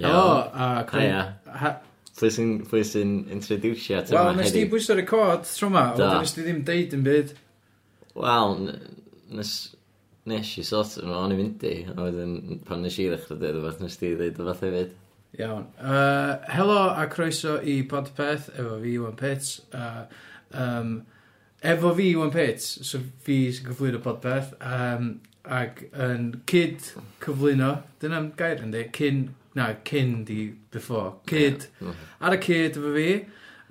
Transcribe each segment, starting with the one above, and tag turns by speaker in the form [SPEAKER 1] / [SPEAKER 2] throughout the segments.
[SPEAKER 1] O, a...
[SPEAKER 2] A ia.
[SPEAKER 1] Ha-
[SPEAKER 2] Pwy sy'n pwy sy'n introducio at
[SPEAKER 3] Wel,
[SPEAKER 2] yma
[SPEAKER 3] nes ti
[SPEAKER 2] heddi?
[SPEAKER 3] bwysau record tro ma,
[SPEAKER 2] Da.
[SPEAKER 3] ond nes ti ddim deud yn byd.
[SPEAKER 2] Wel, n- nes... Nes i sort of, o'n i fynd i, a wedyn pan nes i ddechrau dweud rhywbeth, nes ti dweud rhywbeth hefyd.
[SPEAKER 3] Iawn. Uh, helo a croeso i Podpeth, efo fi Iwan Pits. Uh, um, efo fi Iwan Pits, so fi sy'n cyflwyno Podpeth. Um, ac yn cyd cyflwyno, dyna'n gair yndi, cyn, na, cyn di before, cyd.
[SPEAKER 2] Ie.
[SPEAKER 3] Ar y cyd efo fi,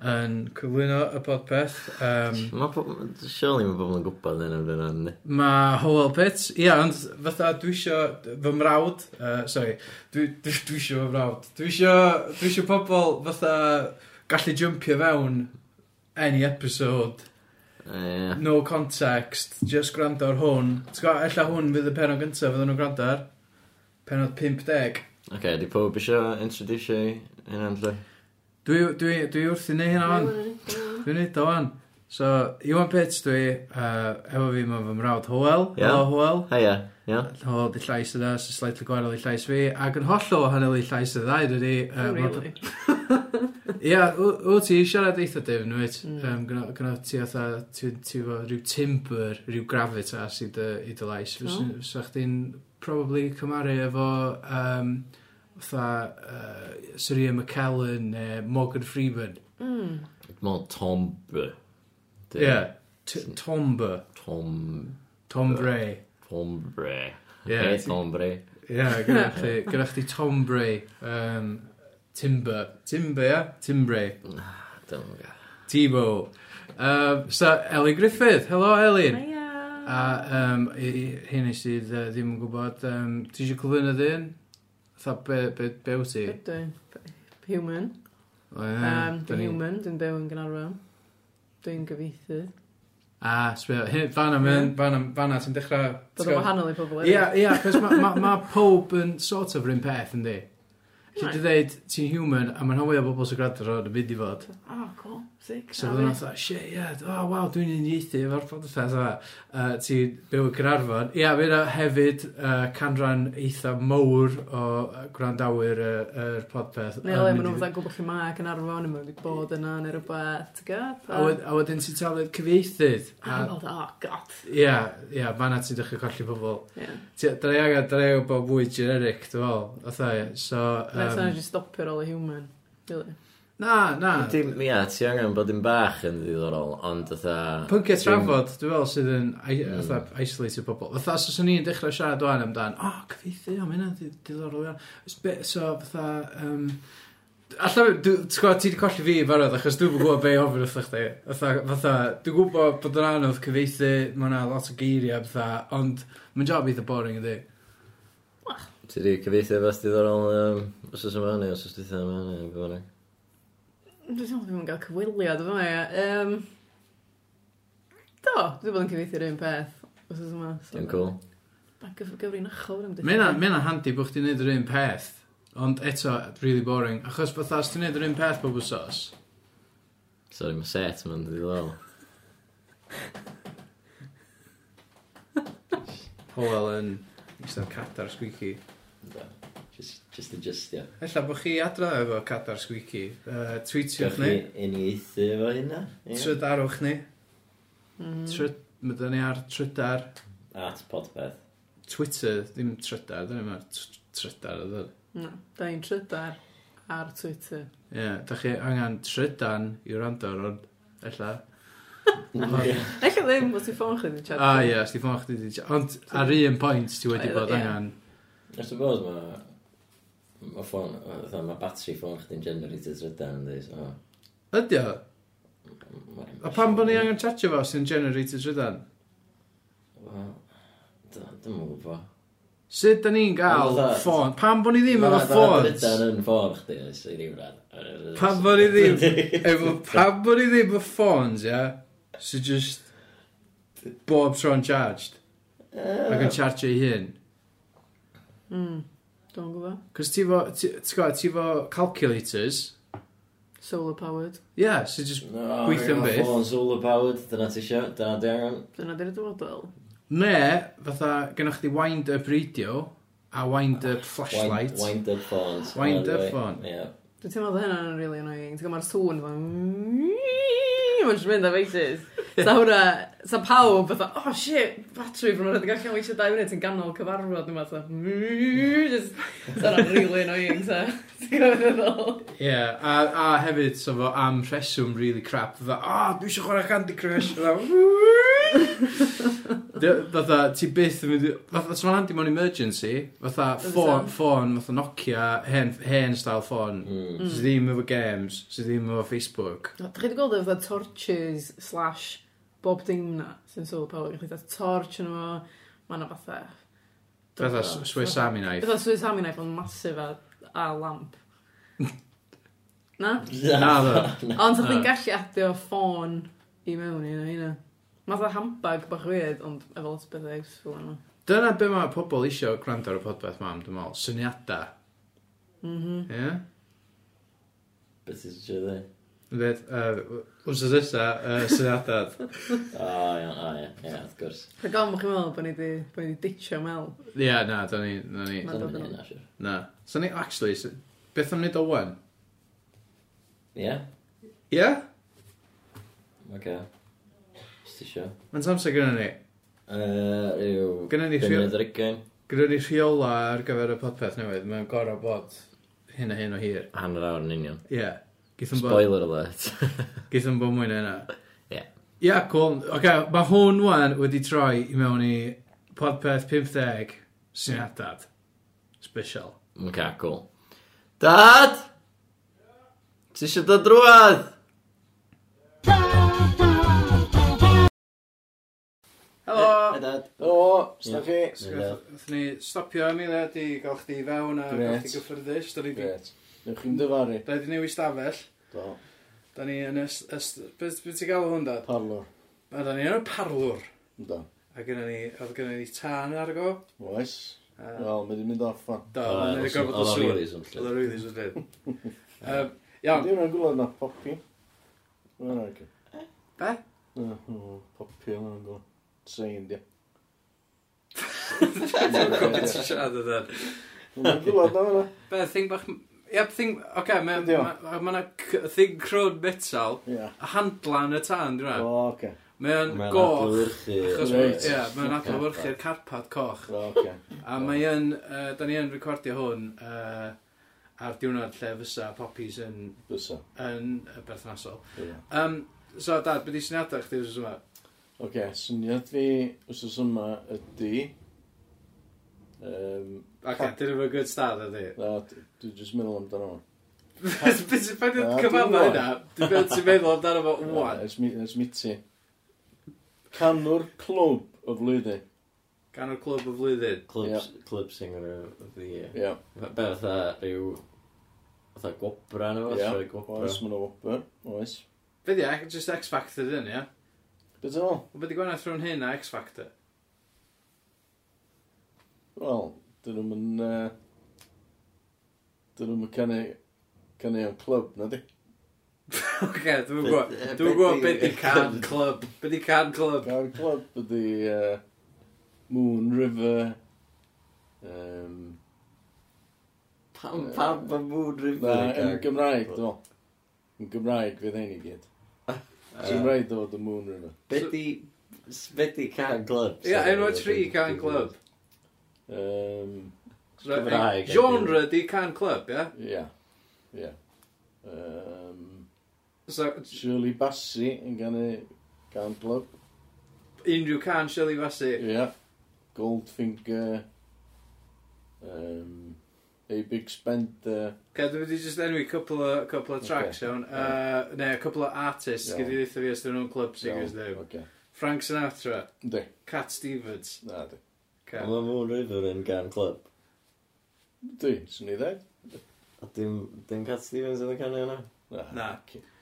[SPEAKER 3] yn cyflwyno y Podpeth. Um,
[SPEAKER 2] Mae pobl... Surely mae pobl yn gwybod hyn am dyna, ynddi?
[SPEAKER 3] Mae Howell Pitts, ia, ond fatha dwi isio fy mrawd, uh, sorry, dwi, dwi, dwi isio fy mrawd, dwi isio, dwi isio pobl fatha gallu jumpio fewn any episode,
[SPEAKER 2] Ie.
[SPEAKER 3] no context, just gwrando ar hwn. T'w gwybod, ella hwn fydd y penod gyntaf fydden nhw'n gwrando ar, penod 50.
[SPEAKER 2] Oce, di pob isio introducio i hynna'n lle?
[SPEAKER 3] Dwi, dwi, dwi wrth i neu hynna fan. Dwi'n neud o fan. So, Iwan Pitts dwi, uh, efo fi mae fy mrawd Howell,
[SPEAKER 2] Ia.
[SPEAKER 3] hello Howell.
[SPEAKER 2] Heia, ia?
[SPEAKER 3] Hwyl di llais yna, sy'n slightly gwahanol i llais fi, ac yn hollol wahanol i llais y ddau, dydy.
[SPEAKER 1] Oh, really?
[SPEAKER 3] Ia, wyt ti siarad eitha dyfn, wyt?
[SPEAKER 1] Hmm.
[SPEAKER 3] Um, Gwna ti atha, ti ti efo rhyw timber, rhyw gravitas i dy, i dy lais.
[SPEAKER 1] O.
[SPEAKER 3] Fyswn- Fysa chdi'n probably cymaru efo, um, fatha, uh, Syria McKellen neu Morgan Freeman.
[SPEAKER 1] Mm.
[SPEAKER 2] Mae'n tombe.
[SPEAKER 3] Ie, yeah. Tomber,
[SPEAKER 2] Tom...
[SPEAKER 3] Tombre.
[SPEAKER 2] Tombre.
[SPEAKER 3] Ie.
[SPEAKER 2] Ie, tombre.
[SPEAKER 3] Ie, gyda chdi, gyda chdi Tombre, um, Timber, Timber, ia? Timbre.
[SPEAKER 2] Dyna fo gael.
[SPEAKER 3] Tebow. Um, so, Ellie Griffith. Helo, Elin. A
[SPEAKER 1] Hiya.
[SPEAKER 3] um, i- i- hyn i sydd uh, ddim yn gwybod, um, ti eisiau cyflwyno ddyn? Tha, be, be, be wyt ti?
[SPEAKER 1] Ydw. Human.
[SPEAKER 3] O, ie,
[SPEAKER 1] Um,
[SPEAKER 3] da
[SPEAKER 1] dwi'n
[SPEAKER 3] ni-
[SPEAKER 1] human, dwi'n byw yn Gynarfon. Dwi'n gyfeithi.
[SPEAKER 3] A, sbio, hyn, fanna, mae'n, fanna, fanna, ti'n dechrau...
[SPEAKER 1] Bod o'n wahanol i pobl
[SPEAKER 3] Ie, ie, cos mae ma, ma pob yn sort of rhywun peth, yndi? Lle
[SPEAKER 1] Right.
[SPEAKER 3] di dweud, ti'n human, a mae'n hofio bobl sy'n gwrando ar hwn yn mynd i fod.
[SPEAKER 1] Oh, cool. Sick.
[SPEAKER 3] So fydden nhw'n dda, shit, ie, oh, waw, dwi'n uniaethu efo'r podcast yma. Uh, ti'n byw yn Cynarfon. Ia, yeah, fyna hefyd uh, canran eitha mowr o yy, gwrandawyr yr uh, uh, podpeth. yn
[SPEAKER 1] Neu le, maen
[SPEAKER 3] mynd
[SPEAKER 1] nhw'n
[SPEAKER 3] i-
[SPEAKER 1] fatha gwybod chi mae Gynarfon, yn mynd i bod yna neu rhywbeth. Ti'n gwybod?
[SPEAKER 3] A wed- a wedyn ti'n talu'r cyfieithydd.
[SPEAKER 1] A
[SPEAKER 3] A-
[SPEAKER 1] fel, oh, god.
[SPEAKER 3] Ia, ia, fanna ti'n dechrau colli pobl.
[SPEAKER 1] Ie.
[SPEAKER 3] Ti- Da ni angen, da ni angen bod mwy generic, dwi'n fel. Otha, ie. so...
[SPEAKER 1] Nes yna
[SPEAKER 3] Um,
[SPEAKER 1] jyst stopio'r ôl y human. Really.
[SPEAKER 3] na, na.
[SPEAKER 2] Dim, ia, ti angen bod yn bach yn ddiddorol, ond fatha...
[SPEAKER 3] Pynciau e trafod, dwi'n Hmm. fel sydd yn i-
[SPEAKER 2] Mm.
[SPEAKER 3] fatha isolated pobl. Fatha, os o'n i'n dechrau siarad o'n amdan, o, oh, cyfeithi, o, mae hynna'n di- diddorol iawn. Os be- So, fatha, um, Alla, ti'n gwybod, ti wedi colli fi i farod, achos dwi'n gwybod be i ofyn wrth chdi. Fatha, fatha, dwi'n gwybod bod yn anodd cyfeithi, mae yna lot o geiriau, fatha, ond mae'n job eitha boring ydi.
[SPEAKER 2] Ti di cyfeithi beth diddorol um, os oes yma neu os oes ditha yma neu beth bynnag.
[SPEAKER 1] Dwi'n teimlo ddim yn cael cyfwiliad yma, ie. Um, do, dwi bod yn cyfeithio'r un peth. Os oes yma. so-
[SPEAKER 2] Dwi'n cool.
[SPEAKER 1] Mae'n gyf- gyfrinachol. dwi'n
[SPEAKER 3] Mae hynna-
[SPEAKER 1] deffro.
[SPEAKER 3] mae hynna'n handi bod chdi'n neud yr un peth, ond eto, really boring. Achos fatha, os ti'n neud yr un peth bob wsos,
[SPEAKER 2] Sorry, mae set yma'n ddiddorol.
[SPEAKER 3] Howell yn eistedd cadar squeaky.
[SPEAKER 2] Just, just adjustio.
[SPEAKER 3] Ella bod chi adra efo cadar squeaky. Uh, tweetiwch
[SPEAKER 2] Gawch
[SPEAKER 3] ni.
[SPEAKER 2] chi uniaethu efo hynna? Ie.
[SPEAKER 3] Trydarwch ni.
[SPEAKER 1] Mm.
[SPEAKER 3] Tryd... Mae da ni ar trydar.
[SPEAKER 2] At podpeth.
[SPEAKER 3] Twitter, ddim trydar, da ni mae'r trydar oedd.
[SPEAKER 1] Na, da ni'n trydar ar Twitter.
[SPEAKER 3] Ie, yeah, da chi angen trydan i wrando ar hwn. Ella. O
[SPEAKER 1] Eich ddim, os ti'n ffôn chi wedi chat.
[SPEAKER 3] ie, os di ffôn chdi di... Ond ar un pwynt ti wedi bod
[SPEAKER 1] Ie.
[SPEAKER 3] angen...
[SPEAKER 2] I suppose mae... Mae ffôn... fatha, Mae battery ffôn chdi'n generated rydan yn dweud. so-
[SPEAKER 3] Ydy o?
[SPEAKER 2] Mae'n-
[SPEAKER 3] A pam bod ni angen chatio fo sy'n generated trydan?
[SPEAKER 2] Wel, d- Dwi'm yn gwybod.
[SPEAKER 3] Sut da ni'n gael
[SPEAKER 2] Fatha-
[SPEAKER 3] ffôn? Pam bod ni ddim efo ffôns?
[SPEAKER 2] Mae'n yn ffôn chdi, oes, i ryw rhan.
[SPEAKER 3] Pam bod ni ddim efo, pam bod ni ddim efo ffôns, ia, so just bob tro'n charged, ac yn charge ei hun.
[SPEAKER 1] Mm, Dwi'n gwybod.
[SPEAKER 3] Cos ti fo, ti- ti'n gwybod, ti fo calculators,
[SPEAKER 1] Solar powered.
[SPEAKER 3] ia, yeah, so just, Gweithio'n
[SPEAKER 2] Gweithio'n
[SPEAKER 3] byth.
[SPEAKER 2] byth. Ffôn solar powered, dyna ti isio, dyna di angen.
[SPEAKER 1] Dyna di'r dywodol.
[SPEAKER 3] ne, fatha, gennych chdi wind-up radio, A wind-up
[SPEAKER 2] Wind,
[SPEAKER 3] flashlight.
[SPEAKER 2] wind up phones. Oh,
[SPEAKER 3] Wind up
[SPEAKER 2] Ie.
[SPEAKER 3] phone.
[SPEAKER 2] Ie.
[SPEAKER 1] Dwi'n teimlo bod hynna'n really annoying. Ti'n gwybod mae'r sŵn fan... Mae'n jyst mynd a faces. Sa hwnna... Sa pawb fatha, oh shit, battery fan hwnna. Dwi'n gallu cael weithio dau munud yn ganol cyfarfod yma. Sa just... Sa hwnna'n really annoying. Sa... Ti'n gwybod yn ôl.
[SPEAKER 3] Ie, a, a hefyd, so fo am rheswm really crap, fatha, a, oh, dwi eisiau chwarae Candy Crush, fatha, Dy- fatha, ti byth yn mynd, i- fatha, so ma'n handi mewn emergency, fatha,
[SPEAKER 1] Fysa.
[SPEAKER 3] ffôn, ffôn, fatha Nokia, hen, hen style ffôn,
[SPEAKER 2] Mm.
[SPEAKER 3] sydd ddim efo games, sydd ddim efo Facebook.
[SPEAKER 1] Da chi wedi gweld efo torches slash bob dim na sy'n solar power. Chi wedi torch yn yma. Mae yna fatha...
[SPEAKER 3] Fatha, s- Swiss Army Knife.
[SPEAKER 1] Fatha Swiss Army Knife ond masif a, a lamp. Na?
[SPEAKER 3] Na, ddo.
[SPEAKER 1] Ond sa chdi'n
[SPEAKER 3] Na.
[SPEAKER 1] gallu adio ffôn i mewn i hynna. Math o handbag bach weird, ond efo lot o bethau useful yna.
[SPEAKER 3] Dyna be mae pobl eisiau gwrando ar y podbeth mam, dwi'n meddwl, syniadau.
[SPEAKER 1] Mhm.
[SPEAKER 3] Ie?
[SPEAKER 2] Beth ydych chi'n dweud?
[SPEAKER 3] Fydd, wrth ysgrifennu, syniadau.
[SPEAKER 2] O, iawn, o, ie, ie, wrth gwrs.
[SPEAKER 1] Rhaid gofyn bod chi'n meddwl bod ni wedi bo ni 'di ditio mel.
[SPEAKER 3] Ie, na, da ni, da ni,
[SPEAKER 1] Ma'n
[SPEAKER 2] Dyna
[SPEAKER 1] dod
[SPEAKER 2] ni
[SPEAKER 1] yn-
[SPEAKER 2] yna, siwr.
[SPEAKER 3] Na. So ni, actually, so, beth am nid o wan?
[SPEAKER 2] Ie?
[SPEAKER 3] Ie? Yeah?
[SPEAKER 2] Oce. Os ti isio.
[SPEAKER 3] Mae'n samsa gyda ni.
[SPEAKER 2] Yy, Ryw...
[SPEAKER 3] Gynna ni
[SPEAKER 2] bum
[SPEAKER 3] rhywun-
[SPEAKER 2] munud ar ugain.
[SPEAKER 3] Gyda ni rheola ar gyfer y podpeth newydd. Mae'n gorau bod hyn a hyn o hir.
[SPEAKER 2] Hanner awr yn union.
[SPEAKER 3] Ie. Yeah. Githyn bod,
[SPEAKER 2] Spoiler alert.
[SPEAKER 3] githyn bod mwy na hynna.
[SPEAKER 2] Ie.
[SPEAKER 3] Ie, yeah, cool. Oce, okay, mae hwn wan wedi troi i mewn i podpeth 50 syniadad. Special.
[SPEAKER 2] Oce, cool. Dad! Ti isio dod drwad?
[SPEAKER 3] Helo!
[SPEAKER 2] dad.
[SPEAKER 3] Oh,
[SPEAKER 2] O,
[SPEAKER 4] Sna chi?
[SPEAKER 2] Oh,
[SPEAKER 3] Wnaeth ni stopio Amelia di gael chdi i fewn a gael
[SPEAKER 4] Grêt.
[SPEAKER 3] chdi gyffyrddus. Da ni di
[SPEAKER 4] Gret. Newch chi'n dyfaru.
[SPEAKER 3] da ni 'di newid stafell.
[SPEAKER 4] Do.
[SPEAKER 3] Da ni yn ys... ys beth beth ti'n galw hwn, dad?
[SPEAKER 4] Parlor.
[SPEAKER 3] A da ni yn y parlwr.
[SPEAKER 4] Do.
[SPEAKER 3] A gynna ni, oedd gynna ni tân ar y go.
[SPEAKER 4] Oes.
[SPEAKER 3] A-
[SPEAKER 4] Wel, mae di mynd off fan.
[SPEAKER 3] Do, oedd ni'n
[SPEAKER 2] oh,
[SPEAKER 3] gorfod o sŵn. Oedd y rwyddys yn dweud. Yym, Iawn.
[SPEAKER 4] Di hwnna'n gwlad na popi. Mae'n argi.
[SPEAKER 3] Be?
[SPEAKER 4] Popi yn hwnna'n gwlad. Sein, di.
[SPEAKER 3] Gwbod ti'n siarad o dan.
[SPEAKER 4] Mae'n gwlad na hwnna.
[SPEAKER 3] Be, thing bach... Ie, thing... Oce, mae
[SPEAKER 4] Ydi o.
[SPEAKER 3] yna thing crwn metal.
[SPEAKER 4] Ia.
[SPEAKER 3] A handlan y tân, dwi'n
[SPEAKER 4] O,
[SPEAKER 3] rhaid.
[SPEAKER 4] oce.
[SPEAKER 3] Mae o'n
[SPEAKER 2] Mae'n
[SPEAKER 3] goch.
[SPEAKER 2] adlewyrchu.
[SPEAKER 3] Achos,
[SPEAKER 4] Reit.
[SPEAKER 3] ie, mae'n
[SPEAKER 4] Ocê.
[SPEAKER 3] adlewyrchu'r carpad coch.
[SPEAKER 4] O, oce.
[SPEAKER 3] A mae yn, yy, da ni yn recordio hwn yy, ar diwrnod lle fysa poppies yn,
[SPEAKER 4] Bysa.
[SPEAKER 3] yn yy, berthnasol.
[SPEAKER 4] Ia.
[SPEAKER 3] Um, so, dad, beth i syniadau chdi fysa yma?
[SPEAKER 4] Oce, syniad fi wrth yma ydi... Yym...
[SPEAKER 3] Ac dyn nhw'n good start ydi.
[SPEAKER 4] Na, d- dwi'n just meddwl amdano hwn.
[SPEAKER 3] Beth sy'n pan yn
[SPEAKER 4] Na, dim
[SPEAKER 3] cyfadda
[SPEAKER 4] rwan.
[SPEAKER 3] yna? Dwi'n meddwl ti'n meddwl amdano fo wwan.
[SPEAKER 4] Ys mi- ys mi ti. Canwr clwb o flwyddyn.
[SPEAKER 3] Gan o'r clwb y flwyddyn.
[SPEAKER 2] Club, club singer of the year.
[SPEAKER 4] Ia.
[SPEAKER 2] Be fatha rhyw... Fatha gwobra nhw?
[SPEAKER 4] Ie,
[SPEAKER 2] Yeah. Sorry, gwobra.
[SPEAKER 4] Oes, mae'n o wobr. Oes.
[SPEAKER 3] Be di, ac- just X-Factor dyn, ia?
[SPEAKER 4] Beth yn ôl?
[SPEAKER 3] Ond beth i gwaneth rhwng hyn a X-Factor?
[SPEAKER 4] Wel, dyn nhw'n yn... Uh, dyn nhw'n canu... Canu o'n clwb, na di?
[SPEAKER 3] Oce, dwi'n
[SPEAKER 2] Be-
[SPEAKER 3] gwybod.
[SPEAKER 2] yy,
[SPEAKER 3] Dwi'n gwybod
[SPEAKER 2] be'
[SPEAKER 3] beth
[SPEAKER 2] di-
[SPEAKER 3] i can club. Beth i can club.
[SPEAKER 4] Gael clwb ydi... Uh, Moon River... Um,
[SPEAKER 2] Pam, pam, pam, moon
[SPEAKER 4] na,
[SPEAKER 2] river.
[SPEAKER 4] yn Gymraeg, dwi'n meddwl. Yn Gymraeg fydd hyn i gyd. Sy'n rhaid o fod y Moon River.
[SPEAKER 2] Bedi... Bedi can club.
[SPEAKER 3] Ie,
[SPEAKER 2] Sorry,
[SPEAKER 3] enw
[SPEAKER 2] be-
[SPEAKER 3] tri
[SPEAKER 2] be-
[SPEAKER 3] can
[SPEAKER 2] be-
[SPEAKER 3] club.
[SPEAKER 4] Um,
[SPEAKER 2] Cymraeg,
[SPEAKER 3] Right, Genre di can club, ia?
[SPEAKER 4] ia. Ia. Um,
[SPEAKER 3] So,
[SPEAKER 4] Shirley Bassey yn canu gan clwb.
[SPEAKER 3] unrhyw can Shirley Bassey.
[SPEAKER 4] Yeah. Goldfinger. Um, a big spender.
[SPEAKER 3] Oce, dwi'n wedi just enwi couple o, couple o tracks, iawn. Uh, ne, couple o artists,
[SPEAKER 4] Iawn.
[SPEAKER 3] gyda i ddeitha fi os dyn nhw'n club singers,
[SPEAKER 4] Iawn,
[SPEAKER 3] dwi'n.
[SPEAKER 4] Oce.
[SPEAKER 3] Frank Sinatra,
[SPEAKER 4] Yndi,
[SPEAKER 3] Cat Stevens.
[SPEAKER 4] na di.
[SPEAKER 3] Oce.
[SPEAKER 2] Mae moon river yn can club.
[SPEAKER 4] Dwi, swn i ddeg.
[SPEAKER 2] A dim, dim Cat Stevens yn y canu yna?
[SPEAKER 3] Na.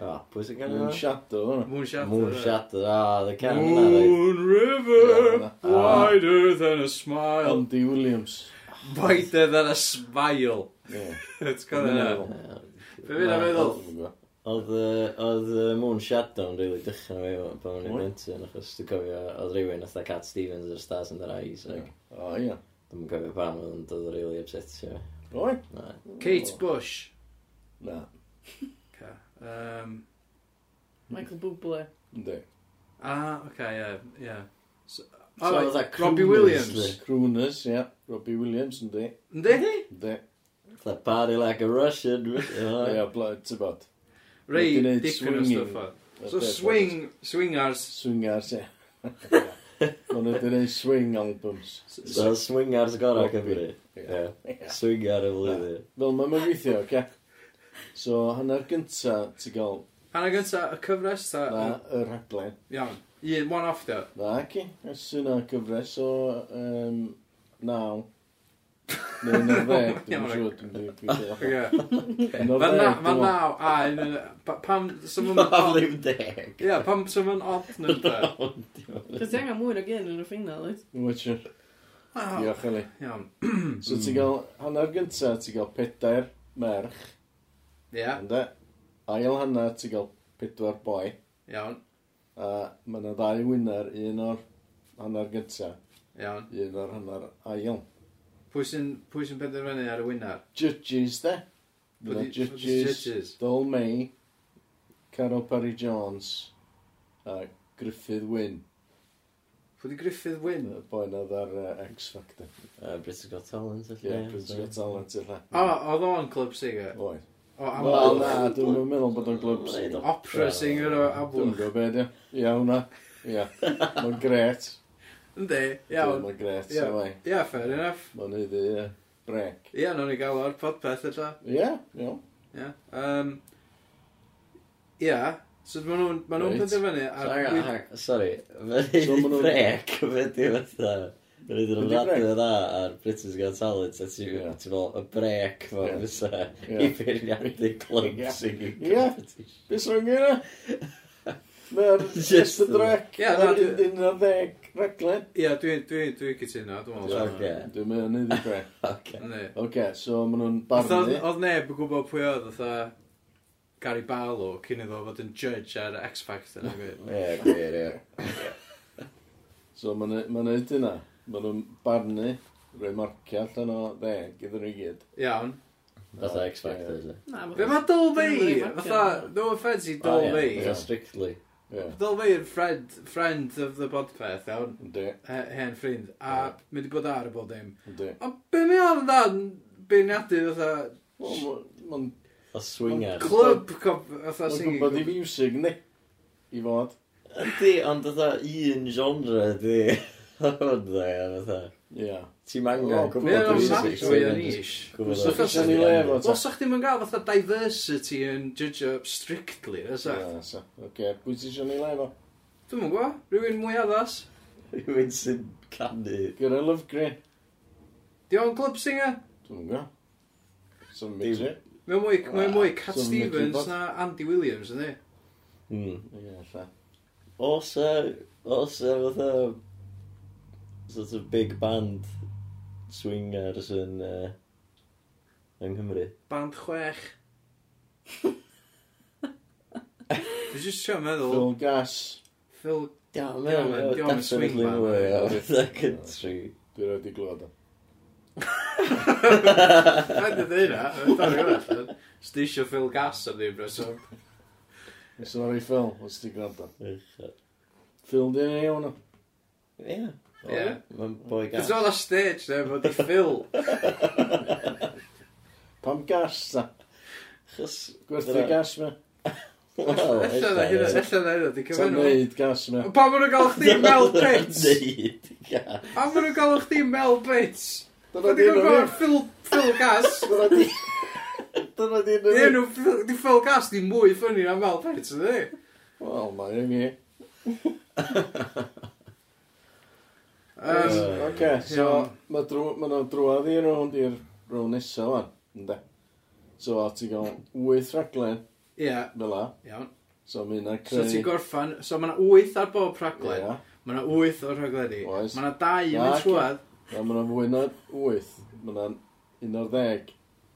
[SPEAKER 2] O, pwy sy'n canu
[SPEAKER 4] Yn
[SPEAKER 2] yna?
[SPEAKER 4] shadow hwnna.
[SPEAKER 3] Moon Shadow.
[SPEAKER 2] Moon Shatter. O, the can yna, reit.
[SPEAKER 3] uh, Moon River,
[SPEAKER 4] Ie, Ah.
[SPEAKER 2] na.
[SPEAKER 3] wider than a smile.
[SPEAKER 4] Andy Williams.
[SPEAKER 3] Wider than a smile.
[SPEAKER 4] Ie.
[SPEAKER 3] It's got
[SPEAKER 4] Dwi'n
[SPEAKER 3] that.
[SPEAKER 4] meddwl.
[SPEAKER 3] Be fi'n
[SPEAKER 2] Na,
[SPEAKER 3] meddwl?
[SPEAKER 4] Dwi'n gwbo.
[SPEAKER 2] Oedd y- oedd y Moon Shadow yn rili dychan o fi pan o'n i'n
[SPEAKER 4] Wy?
[SPEAKER 2] blentyn achos dwi'n cofio oedd rhywun oedd Cat Stevens o'r Stars and the Eyes ac
[SPEAKER 4] O, ie.
[SPEAKER 2] Dwi'n gofio pam oedd yn dod rili upsetio fi.
[SPEAKER 4] Oi?
[SPEAKER 2] Na.
[SPEAKER 3] Kate Bush.
[SPEAKER 4] Na,
[SPEAKER 3] Okay. Um,
[SPEAKER 1] Michael Bublé.
[SPEAKER 4] ynddi.
[SPEAKER 3] ah, okay, yeah, yeah. So,
[SPEAKER 2] So
[SPEAKER 3] oh,
[SPEAKER 4] e-
[SPEAKER 2] fatha
[SPEAKER 3] Robbie
[SPEAKER 2] crooners,
[SPEAKER 3] Williams.
[SPEAKER 2] di.
[SPEAKER 4] Crooners, ia. Robbie Williams, ynddi.
[SPEAKER 3] Ynddi?
[SPEAKER 4] Ynddi.
[SPEAKER 2] Fatha party like a Russian. Ie.
[SPEAKER 4] Ia, blad, ti'n bod.
[SPEAKER 3] Rai,
[SPEAKER 4] Wedi neud
[SPEAKER 3] dipyn o
[SPEAKER 4] swinging.
[SPEAKER 3] stuff o. So swing, swingers.
[SPEAKER 4] Swingars, ia. Maen nhw wedi gwneud swing albums.
[SPEAKER 2] So swingar's gorau Cymru.
[SPEAKER 4] Ie.
[SPEAKER 2] Ie. Swingar y flwyddyn.
[SPEAKER 4] Fel mae'n mynd weithio, oce? So, hanner gynta ti gael
[SPEAKER 3] Hanna gynta, y cyfres ta...
[SPEAKER 4] na y rhaglen.
[SPEAKER 3] Iawn. Un, one off dio.
[SPEAKER 4] Na, ci. Ys yna cyfres o um, naw. Neu yn ddeg, dwi'n
[SPEAKER 3] Iawn,
[SPEAKER 4] siŵr, dwi'n dwi'n dwi'n dwi'n
[SPEAKER 3] Okay.
[SPEAKER 4] Yn o'r
[SPEAKER 3] Fan
[SPEAKER 4] deg,
[SPEAKER 3] na,
[SPEAKER 4] dwi'n
[SPEAKER 3] fan
[SPEAKER 4] meddwl.
[SPEAKER 3] naw, a un, yn- pa- pam, sy'n
[SPEAKER 2] Pam
[SPEAKER 3] mynd...
[SPEAKER 2] ddim deg.
[SPEAKER 3] Ia, pam sy'n mynd odd nid e.
[SPEAKER 1] Cos ti angen mwy na gen yn y ffinal, oes?
[SPEAKER 4] Watcher. Diolch, Eli.
[SPEAKER 3] Iawn. Hmm.
[SPEAKER 4] So ti'n gael, hanner gynta, ti'n gael pedair merch,
[SPEAKER 3] Ia,
[SPEAKER 4] ynde? Ail hanner, ti'n gael pedwar boi.
[SPEAKER 3] iawn,
[SPEAKER 4] A mae yna ddau wynar, un o'r hanner gynta,
[SPEAKER 3] iawn.
[SPEAKER 4] un o'r hanner ail.
[SPEAKER 3] Pwy sy'n pwy sy'n penderfynu ar y winner?
[SPEAKER 4] Judges, de?
[SPEAKER 3] Pwy
[SPEAKER 4] Fydd 'na
[SPEAKER 3] di- pwy di judges?
[SPEAKER 4] Judges, Dol May, Carol Parry-Jones, a Griffith Wynn,
[SPEAKER 3] Pwy di Griffith
[SPEAKER 4] y
[SPEAKER 3] win?
[SPEAKER 4] boi na ddar uh, X Factor.
[SPEAKER 2] Uh, Britain's Got Talent,
[SPEAKER 4] Ie, yeah, Prince Got Talent i'r lle.
[SPEAKER 3] O, oedd o'n club singer.
[SPEAKER 4] Oed.
[SPEAKER 3] O,
[SPEAKER 4] Wel,
[SPEAKER 3] am
[SPEAKER 4] na, dwi'n yn meddwl bod o'n glwb sy'n.
[SPEAKER 3] opera singer o
[SPEAKER 4] Dwi'n
[SPEAKER 3] Ablwch.
[SPEAKER 4] gwybod beth yw. Ie, hwnna. Ie. Mae'n gret.
[SPEAKER 3] Yndi, iawn.
[SPEAKER 4] Mae'n gret,
[SPEAKER 3] Ie.
[SPEAKER 4] so mai.
[SPEAKER 3] Ia, fair enough.
[SPEAKER 4] Mae'n hyddi, ie. Brec.
[SPEAKER 3] Ia, nhw'n i gael o'r podpeth eto.
[SPEAKER 4] Ie, iawn.
[SPEAKER 3] Ia. Um, ia, so maen nhw'n ma nhw'n
[SPEAKER 4] Reit.
[SPEAKER 3] penderfynu
[SPEAKER 2] Hang on,
[SPEAKER 3] ar...
[SPEAKER 2] hang on, Sorry,
[SPEAKER 4] So
[SPEAKER 2] fe'n
[SPEAKER 4] ma' nhw'n-
[SPEAKER 2] brec, fe'n di fatha. Fe'n di
[SPEAKER 4] Be' 'di brec?
[SPEAKER 2] rhywbeth dda ar Britain's Got Talent, a ti
[SPEAKER 4] Ie.
[SPEAKER 2] ti fel y brec fo
[SPEAKER 4] Ie.
[SPEAKER 2] fysa
[SPEAKER 4] Ie.
[SPEAKER 2] i beirniadu club
[SPEAKER 4] Ie.
[SPEAKER 2] singing
[SPEAKER 4] Ie.
[SPEAKER 2] competition.
[SPEAKER 4] Beth sy'n gyda? Mae'r
[SPEAKER 2] Just
[SPEAKER 4] just y drec.
[SPEAKER 3] Ie,
[SPEAKER 4] Ie,
[SPEAKER 3] na,
[SPEAKER 4] na.
[SPEAKER 3] dwi-
[SPEAKER 4] Un o'r ddeg raglen.
[SPEAKER 3] Ia, dwi'n dwi, dwi cytuno, dwi'n meddwl.
[SPEAKER 2] Ocê.
[SPEAKER 4] Dwi'n meddwl yn hyddi brec.
[SPEAKER 2] Ocê.
[SPEAKER 3] Yndi.
[SPEAKER 4] Oce, so maen nhw'n
[SPEAKER 3] Oedd
[SPEAKER 4] barnu.
[SPEAKER 3] oedd neb yn gwybod pwy oedd oedd Gary Barlow cyn iddo fod yn judge ar X Factor neu beth.
[SPEAKER 2] Ie, gwir, ie.
[SPEAKER 4] So maen nhw- maen nhw'n neud hynna. Maen nhw'n barnu. Rwy'n marcio allan o ddeg iddyn nhw i gyd.
[SPEAKER 3] Iawn.
[SPEAKER 2] Fatha X Factor, ie.
[SPEAKER 1] Na,
[SPEAKER 3] Be mae Dolby?
[SPEAKER 1] Dwi'n marcio.
[SPEAKER 3] Fatha, no offence
[SPEAKER 2] O,
[SPEAKER 3] i
[SPEAKER 2] ie,
[SPEAKER 3] Dolby.
[SPEAKER 2] fatha Strictly.
[SPEAKER 4] Ie.
[SPEAKER 3] Dolby yn friend, friend of the podpeth, iawn.
[SPEAKER 4] Ynddi,
[SPEAKER 3] He- Hen ffrind. A mynd i bod ar y bod dim.
[SPEAKER 4] ynddi.
[SPEAKER 3] A be mi oedd dan beirniadu fatha
[SPEAKER 4] Wel, ma- ma'n
[SPEAKER 2] A swingar.
[SPEAKER 3] club cop- fatha
[SPEAKER 4] Mae'n
[SPEAKER 3] singing.
[SPEAKER 4] gwybod i
[SPEAKER 3] club.
[SPEAKER 4] fiwsig, ne? I fod.
[SPEAKER 2] Yndi, ond fatha un genre, di. Hwn, dda, ie, fatha.
[SPEAKER 4] Ie.
[SPEAKER 2] Ti'n
[SPEAKER 4] O,
[SPEAKER 2] mangan
[SPEAKER 3] Mae
[SPEAKER 2] gwybod
[SPEAKER 4] Mae o'n
[SPEAKER 3] o'n
[SPEAKER 2] pwy
[SPEAKER 4] Oh, massive,
[SPEAKER 3] sach
[SPEAKER 2] sy'n-
[SPEAKER 3] fwy o
[SPEAKER 2] sy'n-
[SPEAKER 3] niche.
[SPEAKER 2] gwybod
[SPEAKER 4] Os
[SPEAKER 2] pwy
[SPEAKER 4] ydych
[SPEAKER 2] sy'n-
[SPEAKER 4] chi'n ei lefo, ta?
[SPEAKER 3] Wel, sa'ch ddim yn gael fatha diversity yn judge up strictly, fysa?
[SPEAKER 4] Ie, so, Oce, pwy ti eisiau ni lefo?
[SPEAKER 3] Dwi'n mwyn gwybod, rhywun mwy addas.
[SPEAKER 2] Rwy'n sy'n canu.
[SPEAKER 4] Gyda Lyfgri.
[SPEAKER 3] Di o'n club singer?
[SPEAKER 4] Dwi'n go. Some midget.
[SPEAKER 3] Mae'n mwy, mae'n mwy Cat
[SPEAKER 4] so Mickey
[SPEAKER 3] Stevens
[SPEAKER 4] Bob.
[SPEAKER 3] na Andy Williams, ynddi?
[SPEAKER 2] Hmm.
[SPEAKER 4] Ie, lla.
[SPEAKER 2] Os e, os e fatha, sort of big band swingers yn, uh, yng Nghymru.
[SPEAKER 3] Band chwech. Dwi'n just trio meddwl,
[SPEAKER 4] Phil Gas.
[SPEAKER 3] Phil,
[SPEAKER 2] Ia,
[SPEAKER 3] Ie, man,
[SPEAKER 2] mae'n
[SPEAKER 3] dio'm yn swing
[SPEAKER 2] definitely
[SPEAKER 3] band.
[SPEAKER 2] mwy o fatha country.
[SPEAKER 4] Dwi'n rhaid i glwad o.
[SPEAKER 3] rhaid i ddweud na, dwi'n rhaid Stisio Phil Gas ar ddim reswm.
[SPEAKER 4] Sorry, Phil, os ti gwrando.
[SPEAKER 2] Uchel.
[SPEAKER 4] Phil, di'n ei iawn o.
[SPEAKER 2] Ie.
[SPEAKER 3] Ie.
[SPEAKER 2] Mae'n boi
[SPEAKER 3] It's
[SPEAKER 2] gas.
[SPEAKER 3] on a stage, ne, bod i Phil.
[SPEAKER 4] Pam gas, ta?
[SPEAKER 2] Chos...
[SPEAKER 4] Gwerthu gas, me?
[SPEAKER 2] Wel,
[SPEAKER 3] Ella na hynna, ella na hynna, di
[SPEAKER 4] Ta'n
[SPEAKER 3] cyfenw.
[SPEAKER 4] neud gas, me?
[SPEAKER 3] Pa maen nhw'n gael chdi Mel Brits?
[SPEAKER 2] Neud gas.
[SPEAKER 3] Pa maen nhw'n gael chdi Mel Brits?
[SPEAKER 4] Dyna
[SPEAKER 3] Dwi'n
[SPEAKER 4] di'n
[SPEAKER 3] gwybod
[SPEAKER 4] o'n
[SPEAKER 3] Phil, Phil Gas.
[SPEAKER 4] Dyna di- Dyna di'n
[SPEAKER 3] Di
[SPEAKER 4] o'n
[SPEAKER 3] enw, Phil- di Phil Gas di mwy ffynnu na Mel Brits, ynddi?
[SPEAKER 4] Wel, mae'n i.
[SPEAKER 3] Um,
[SPEAKER 4] Oce, so mae drw- ma' nhw'n drwad i rownd i'r rownd nesa fan, ynddo? So a ti gael 8 raglen
[SPEAKER 3] Ie,
[SPEAKER 4] fel la,
[SPEAKER 3] iawn.
[SPEAKER 4] so mae hynna'n
[SPEAKER 3] So
[SPEAKER 4] creu...
[SPEAKER 3] ti'n gorffan, so mae yna 8 ar bob rhaglen.
[SPEAKER 4] Ie,
[SPEAKER 3] Mae yna 8 o'r rhaglenni.
[SPEAKER 4] Oes.
[SPEAKER 3] Mae yna 2 yn
[SPEAKER 4] Na,
[SPEAKER 3] mynd trwad.
[SPEAKER 4] a mae hwnna'n fwy na 8, mae hwnna'n un o'r ddeg.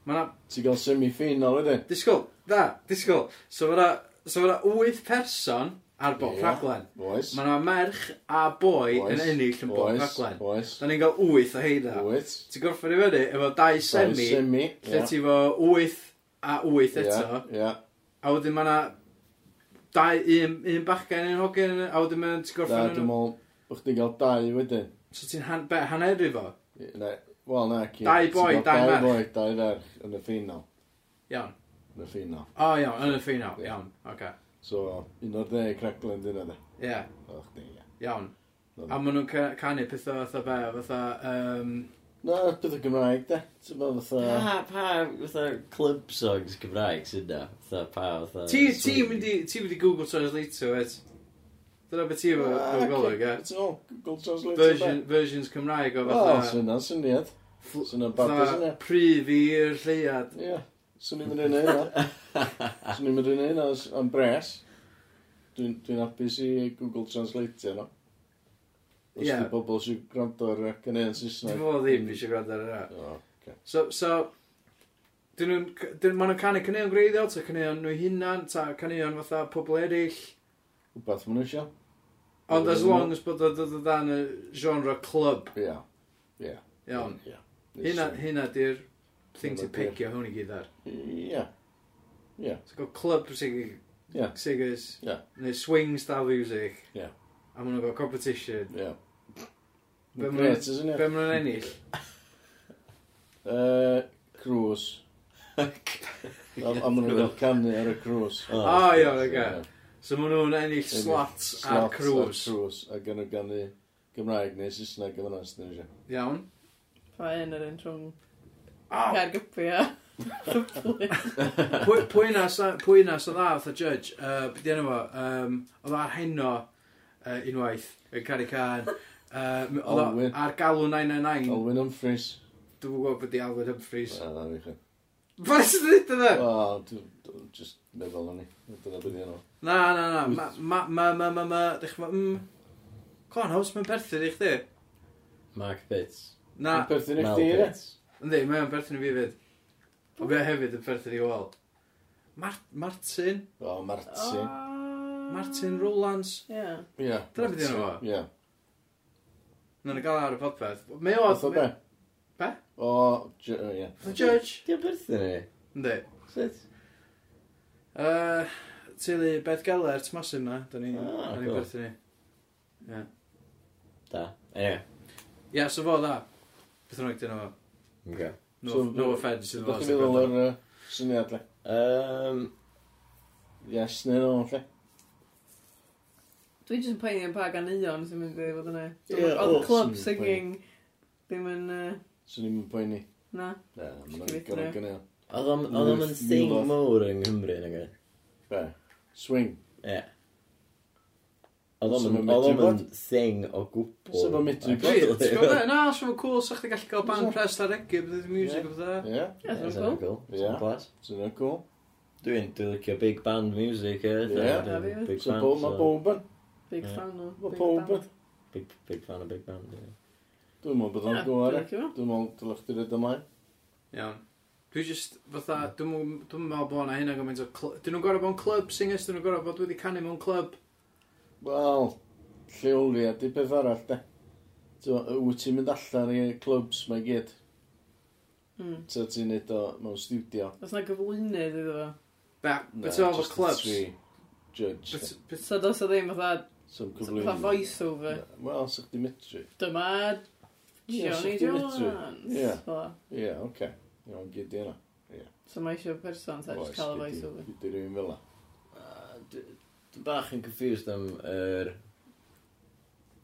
[SPEAKER 3] Mae yna,
[SPEAKER 4] Ti'n gael semi-final wedyn?
[SPEAKER 3] disgwyl, da, disgwyl. So mae yna, so mae yna 8 person ar bob
[SPEAKER 4] Ie.
[SPEAKER 3] rhaglen.
[SPEAKER 4] Oes.
[SPEAKER 3] Mae yna merch a boi
[SPEAKER 4] Oes.
[SPEAKER 3] yn ennill yn bob
[SPEAKER 4] Oes.
[SPEAKER 3] rhaglen.
[SPEAKER 4] Oes.
[SPEAKER 3] Da ni'n cael wyth o heina.
[SPEAKER 4] Wyt.
[SPEAKER 3] Ti'n gorffen i fyny efo dau
[SPEAKER 4] Dau
[SPEAKER 3] semi,
[SPEAKER 4] Semi.
[SPEAKER 3] lle ti efo wyth a wyth
[SPEAKER 4] Ie,
[SPEAKER 3] eto.
[SPEAKER 4] Ie.
[SPEAKER 3] A wedyn mae yna dau, un, un bachgen, un hogyn, a wedyn mae ti'n
[SPEAKER 4] Na,
[SPEAKER 3] gorffen
[SPEAKER 4] dwi'n
[SPEAKER 3] yn...
[SPEAKER 4] meddwl, bych ti'n cael dau wedyn.
[SPEAKER 3] So ti'n han, be- hanneru fo?
[SPEAKER 4] Ne- Wel, na, ci.
[SPEAKER 3] Dau boi,
[SPEAKER 4] Ti'n cael
[SPEAKER 3] dau merch.
[SPEAKER 4] Dau boi, dau ferch yn y ffinal.
[SPEAKER 3] Iawn.
[SPEAKER 4] Yn y ffinal.
[SPEAKER 3] O, iawn, yn y ffinal.
[SPEAKER 4] Ie.
[SPEAKER 3] Iawn, oce.
[SPEAKER 4] So, un o'r deg raglen dyn nhw.
[SPEAKER 3] Ie,
[SPEAKER 4] O, chdi, ie.
[SPEAKER 3] iawn.
[SPEAKER 4] Iawn.
[SPEAKER 3] A maen nhw'n ca- canu pethau fatha be, fatha... Um,
[SPEAKER 4] Na, beth o Gymraeg, de. Ti'n meddwl fatha...
[SPEAKER 2] Pa, pa, fatha, club songs Gymraeg sy'n da? Fatha, pa, fatha...
[SPEAKER 3] ti, ti mynd i, ti mynd i Google Translate o et. Dyna beth ti efo efo golwg,
[SPEAKER 4] ie?
[SPEAKER 3] e?
[SPEAKER 4] Ti'n meddwl, Google Oh, Translate.
[SPEAKER 3] Version, versions Cymraeg o
[SPEAKER 4] O,
[SPEAKER 3] fatha...
[SPEAKER 4] sy'n na, syniad.
[SPEAKER 3] ff-
[SPEAKER 4] Sy'n na babys
[SPEAKER 3] Fatha
[SPEAKER 4] yna.
[SPEAKER 3] prif i'r lleiad.
[SPEAKER 4] Ie. Swn i'n mynd i'n neud hynna. Swn i'n mynd i'n neud hynna am bres. Dwi'n dwi apus i Google Translate yno. Os
[SPEAKER 3] Ie.
[SPEAKER 4] yeah. di bobl sy'n gwrando ar ac yn ein
[SPEAKER 3] Dwi'n
[SPEAKER 4] Saesneg.
[SPEAKER 3] meddwl ddim eisiau gwrando ar yna.
[SPEAKER 4] O, oce.
[SPEAKER 3] So, so, dyn nhw'n, dyn maen nhw'n canu caneuon greiddiol, ta caneuon nhw hunan, ta caneuon fatha pobl eraill.
[SPEAKER 4] Wbeth maen nhw eisiau.
[SPEAKER 3] Ond as long as bod o dod o dan y genre club,
[SPEAKER 4] Ie.
[SPEAKER 3] iawn.
[SPEAKER 4] Ie.
[SPEAKER 3] Hynna, hynna di'r thing
[SPEAKER 4] Hynna
[SPEAKER 3] ti'n
[SPEAKER 4] di'r-
[SPEAKER 3] picio hwn i gyd ar.
[SPEAKER 4] Ie.
[SPEAKER 3] So, go club singing,
[SPEAKER 4] Ie.
[SPEAKER 3] singers,
[SPEAKER 4] Ie.
[SPEAKER 3] neu swing style music.
[SPEAKER 4] Ie.
[SPEAKER 3] A maen nhw'n go competition.
[SPEAKER 4] Ie.
[SPEAKER 3] Be maen
[SPEAKER 4] Gret, ysyn
[SPEAKER 3] Be
[SPEAKER 4] ni?
[SPEAKER 3] maen nhw'n ennill?
[SPEAKER 4] Crws. A a maen nhw'n cael canu ar y crws.
[SPEAKER 3] O,
[SPEAKER 2] Oh,
[SPEAKER 3] iawn, oce. So, maen nhw'n ennill
[SPEAKER 4] Ennill
[SPEAKER 3] slots ar cruise.
[SPEAKER 4] Crws. A gan nhw ganu Gymraeg neu Saesneg gyda'n as nhw eisiau.
[SPEAKER 3] Iawn.
[SPEAKER 1] Pa un yr un trwng
[SPEAKER 3] O,
[SPEAKER 1] Caergybi a
[SPEAKER 3] Pwy- pwy na sa- pwy na sa dda fatha judge uh, beth yna fo um, oedd ar heno uh, unwaith yn cari can uh, m- oedd o
[SPEAKER 4] Olwyn.
[SPEAKER 3] ar galw 999
[SPEAKER 4] Olwyn Humphreys.
[SPEAKER 3] dwi'n gwybod bod i Alwyn Humphreys
[SPEAKER 4] Wel, na, fi chi.
[SPEAKER 3] Fes yn dweud yna?
[SPEAKER 4] Wel, dw- dw- just meddwl o'n i. Dyna beth yna.
[SPEAKER 3] Na, na, na, ma, ma, ma, ma, ma, ma, dych chi'n mm, Cornhouse, mae'n perthyn i chdi.
[SPEAKER 2] Mark Pitts.
[SPEAKER 3] Na,
[SPEAKER 4] Yn perthyn i
[SPEAKER 2] Mel
[SPEAKER 4] chdi, ie?
[SPEAKER 2] Pitts.
[SPEAKER 3] ynddi, mae'n perthyn i fi fyd. Ond fe hefyd yn perthyn i wal. Mar Martin,
[SPEAKER 4] O, Marti.
[SPEAKER 3] Martin Rowlands.
[SPEAKER 1] Ie
[SPEAKER 4] Ie.
[SPEAKER 3] Dyna beth yna fo.
[SPEAKER 4] Ie.
[SPEAKER 3] Na'n gael ar y podpeth. Mae o...
[SPEAKER 4] Oedd o be?
[SPEAKER 3] Be?
[SPEAKER 4] O, j- o, ie.
[SPEAKER 3] The judge.
[SPEAKER 2] Di o byrthyn i?
[SPEAKER 3] Ynddi.
[SPEAKER 2] Sut?
[SPEAKER 3] Uh, teulu Beth Gellert, masif na, da ni,
[SPEAKER 2] Ah,
[SPEAKER 3] da ni
[SPEAKER 2] cool.
[SPEAKER 3] byrthu ni.
[SPEAKER 2] Da. Ie.
[SPEAKER 3] Ia, yeah, so fo dda. Beth rwy'n dyn nhw.
[SPEAKER 2] Okay.
[SPEAKER 3] No,
[SPEAKER 4] So,
[SPEAKER 3] no offence iddyn
[SPEAKER 4] Ydych
[SPEAKER 3] nhw.
[SPEAKER 4] chi'n
[SPEAKER 3] os dwi'n
[SPEAKER 4] feddwl
[SPEAKER 3] gwrando.
[SPEAKER 4] o'r yy, syniad le?
[SPEAKER 2] Um,
[SPEAKER 4] Yes, neu no, lle?
[SPEAKER 1] Dwi jyst yn poeni am pa ganeuon sy'n mynd i fod yna So,
[SPEAKER 4] Ie,
[SPEAKER 1] Oedd
[SPEAKER 4] o,
[SPEAKER 1] club
[SPEAKER 4] sy'n
[SPEAKER 1] singing ddim yn yy,
[SPEAKER 4] Swn i'n poeni.
[SPEAKER 1] Na
[SPEAKER 4] Na, mae'n
[SPEAKER 1] Cyfeithio.
[SPEAKER 4] gorau gynnal.
[SPEAKER 2] Oedd o'm- oedd o'm yn
[SPEAKER 4] Lewis
[SPEAKER 2] thing
[SPEAKER 4] Newloff.
[SPEAKER 2] mowr yng Nghymru yn ymwneud.
[SPEAKER 4] Be? Swing.
[SPEAKER 2] Ie. Oedd o'm
[SPEAKER 4] Sa'm yn
[SPEAKER 2] yn- oedd o'm
[SPEAKER 4] medru
[SPEAKER 2] yn thing o gwbl.
[SPEAKER 4] Sa'm yn medru
[SPEAKER 3] Dwi,
[SPEAKER 2] Actually,
[SPEAKER 3] ti'n gwybod be? Na, sy'n fawr cool, sa'ch chi gallu cael band
[SPEAKER 4] Fysa.
[SPEAKER 3] press ar egi, bydd y music
[SPEAKER 4] Ie.
[SPEAKER 3] o bydda.
[SPEAKER 4] Ie?
[SPEAKER 1] Ie,
[SPEAKER 2] Ie,
[SPEAKER 1] sy'n
[SPEAKER 2] sa'm
[SPEAKER 1] cool
[SPEAKER 2] cool.
[SPEAKER 4] Ie.
[SPEAKER 2] Sa'm class.
[SPEAKER 4] Swn i'n cool.
[SPEAKER 2] Dwi'n dwi'n licio big band music, ie.
[SPEAKER 4] Ie.
[SPEAKER 2] Dwi'n-
[SPEAKER 1] Na fi
[SPEAKER 2] dwi'n
[SPEAKER 1] hefyd.
[SPEAKER 2] Big
[SPEAKER 4] So,
[SPEAKER 2] fan.
[SPEAKER 4] bo- mae
[SPEAKER 2] so-
[SPEAKER 4] bob yn.
[SPEAKER 1] Big
[SPEAKER 2] Ie.
[SPEAKER 1] fan o
[SPEAKER 4] Mae
[SPEAKER 1] Big
[SPEAKER 4] pob
[SPEAKER 1] band.
[SPEAKER 4] yn.
[SPEAKER 2] Big big fan o big band, ie.
[SPEAKER 4] Dwi'n meddwl bod
[SPEAKER 1] Ie,
[SPEAKER 4] o'n
[SPEAKER 1] dwi'n
[SPEAKER 4] gorau.
[SPEAKER 1] licio fo.
[SPEAKER 4] Dwi'n meddwl dylech chi rydw ymlaen.
[SPEAKER 3] Iawn. Dwi just, fatha, dwi'n mw- dwi'n meddwl bod na hynna gymaint o... cl- Dyn nhw'n gorau bod yn club singers, dyn nhw'n gorau bod wedi canu mewn club.
[SPEAKER 4] Wel, lleoli a di peth arall, de. T'mo', yy, Wyt ti'n mynd allan i clubs, mae gyd.
[SPEAKER 1] Mm.
[SPEAKER 4] Ta ti'n neud o mewn studio.
[SPEAKER 1] Os na gyflwynydd iddo fo
[SPEAKER 3] Be,
[SPEAKER 4] Na,
[SPEAKER 3] beth o'n fawr
[SPEAKER 4] just the
[SPEAKER 3] clubs?
[SPEAKER 4] three Judge.
[SPEAKER 3] Bet-
[SPEAKER 4] de.
[SPEAKER 3] bet-
[SPEAKER 1] So dos o ddim fatha
[SPEAKER 4] Some
[SPEAKER 1] Fatha
[SPEAKER 4] cyflwyno.
[SPEAKER 1] voice e? over
[SPEAKER 4] Na, Wel, sa'ch di mitri.
[SPEAKER 1] Dyma
[SPEAKER 4] Ie,
[SPEAKER 1] Johnny
[SPEAKER 4] sut ti'n
[SPEAKER 1] Jones
[SPEAKER 4] medru? Ie.
[SPEAKER 1] Fatha.
[SPEAKER 4] Ie, oce. Iawn, gyd i hynna.
[SPEAKER 1] So mae eisiau person ta jyst
[SPEAKER 4] Oes,
[SPEAKER 1] cael y
[SPEAKER 4] gyd i-
[SPEAKER 1] voice e? over
[SPEAKER 4] Gyd i rywun fel 'na.
[SPEAKER 2] Uh, dwi- Dwi'n bach yn confused am yr...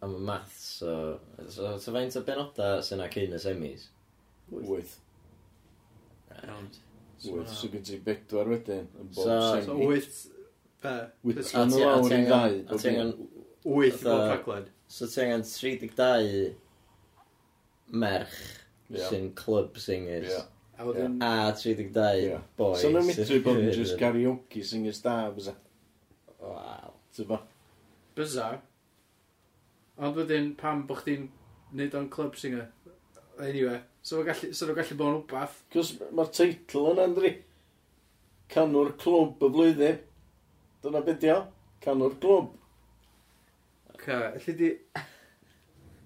[SPEAKER 2] am y maths, so... So, so faint o benoda sy'n na cyn y semis?
[SPEAKER 4] Wyth.
[SPEAKER 3] Iawn.
[SPEAKER 2] Ah,
[SPEAKER 3] So
[SPEAKER 4] Wyth,
[SPEAKER 3] ma'
[SPEAKER 4] so gyd ti bedwar wedyn yn bob
[SPEAKER 2] So-
[SPEAKER 3] So,
[SPEAKER 4] semi.
[SPEAKER 3] wyth... Be?
[SPEAKER 4] Wyth.
[SPEAKER 3] Beth-
[SPEAKER 4] Yn
[SPEAKER 2] ti-
[SPEAKER 4] lawr
[SPEAKER 2] ti
[SPEAKER 4] i
[SPEAKER 2] angen- a
[SPEAKER 4] ddau,
[SPEAKER 2] ti
[SPEAKER 4] bob
[SPEAKER 2] angen...
[SPEAKER 3] Wyth i bob
[SPEAKER 2] Fatha-
[SPEAKER 3] rhaglen.
[SPEAKER 2] So ti angen 32 merch
[SPEAKER 4] Ie.
[SPEAKER 2] sy'n club singers.
[SPEAKER 4] Ie.
[SPEAKER 3] A wedyn...
[SPEAKER 2] A 32
[SPEAKER 4] Ie.
[SPEAKER 2] boi.
[SPEAKER 4] So nhw'n mitri
[SPEAKER 2] sy'n-
[SPEAKER 4] bod yn just karaoke singers da, fysa.
[SPEAKER 2] Waw.
[SPEAKER 4] Ti'n bo?
[SPEAKER 3] Bizarre. Ond wedyn, pam bod chdi'n neud o'n club singer? Anyway, so nhw'n gallu, so nhw'n gallu bod yn wbath.
[SPEAKER 4] Cos mae'r teitl yn andri. Canwr clwb y flwyddyn. Dyna beth di o. Canwr clwb.
[SPEAKER 3] Waka, allu di...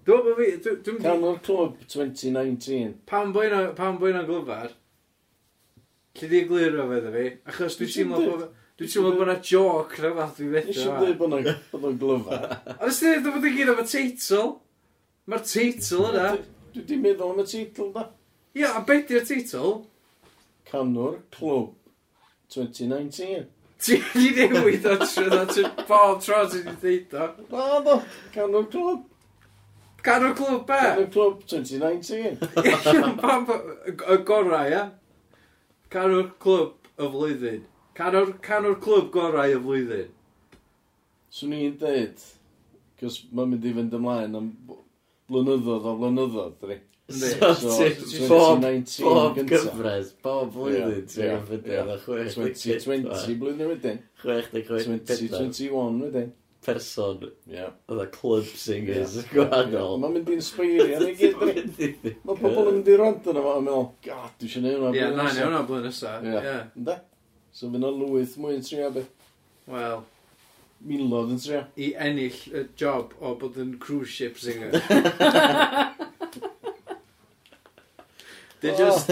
[SPEAKER 3] Dwi'n meddwl bod fi... dwi- Dwi'n
[SPEAKER 4] Can
[SPEAKER 3] meddwl...
[SPEAKER 4] o'r clwb 2019.
[SPEAKER 3] Pan bwy'n o- pan bwy'n o'n glyfar, allu di eglurio fe dda fi, achos dwi'n
[SPEAKER 4] Nes i'm
[SPEAKER 3] teimlo
[SPEAKER 4] deud-
[SPEAKER 3] bod... Dwi'n teimlo bod na joc na fath dwi'n
[SPEAKER 4] Nes
[SPEAKER 3] fethu
[SPEAKER 4] i'n
[SPEAKER 3] fa.
[SPEAKER 4] dweud bod o'n- bod o'n glyfar.
[SPEAKER 3] Ond ysdi dweud bod yn gyd o'r teitl? Mae'r teitl yna.
[SPEAKER 4] Dwi di meddwl am y teitl da.
[SPEAKER 3] Ia, a beth di'r teitl?
[SPEAKER 4] Canwr Clwb 2019.
[SPEAKER 3] Ti di newid o tro na tro bob tro ti di ddeud o.
[SPEAKER 4] Na do, Canwr Clwb.
[SPEAKER 3] Gan o'r clwb be?
[SPEAKER 4] Canwr Clwb 2019.
[SPEAKER 3] Pam bo- y gorau, ia? Gan o'r clwb y flwyddyn. Can o'r, can o'r clwb gorau y flwyddyn.
[SPEAKER 4] Swn i'n dweud, cos mae'n mynd i fynd ymlaen am bl- blynyddoedd o flynyddoedd, dwi.
[SPEAKER 3] Yndi.
[SPEAKER 4] So,
[SPEAKER 2] ti- bob-
[SPEAKER 4] 2019
[SPEAKER 2] Bob
[SPEAKER 4] gyntaf.
[SPEAKER 2] gyfres, bob flwyddyn
[SPEAKER 4] Ie,
[SPEAKER 2] ti'n
[SPEAKER 4] ie, ie.
[SPEAKER 2] gyffredin o
[SPEAKER 4] 2020
[SPEAKER 2] 60
[SPEAKER 4] blwyddyn wedyn.
[SPEAKER 2] 60
[SPEAKER 4] 2021 wedyn.
[SPEAKER 2] person
[SPEAKER 4] Ie.
[SPEAKER 2] oedd y club singers
[SPEAKER 4] Ie. Ie.
[SPEAKER 2] gwahanol.
[SPEAKER 4] Mae'n mynd i'n sbeirio ni gyd. dydi? Mae pobl yn mynd i rand yna fo a meddwl, god, dwi eisiau neud hwnna.
[SPEAKER 3] Ia,
[SPEAKER 4] blwyddyn
[SPEAKER 3] na,
[SPEAKER 4] nesaf."
[SPEAKER 3] ni hwnna blwyddyn nesa.
[SPEAKER 4] Ie.
[SPEAKER 3] Ia,
[SPEAKER 4] Ynde? So fyna lwyth mwy yn trio beth.
[SPEAKER 3] wel,
[SPEAKER 4] Milodd yn trio.
[SPEAKER 3] i ennill y job o bod yn cruise ship singer. They
[SPEAKER 4] Oh.
[SPEAKER 3] just...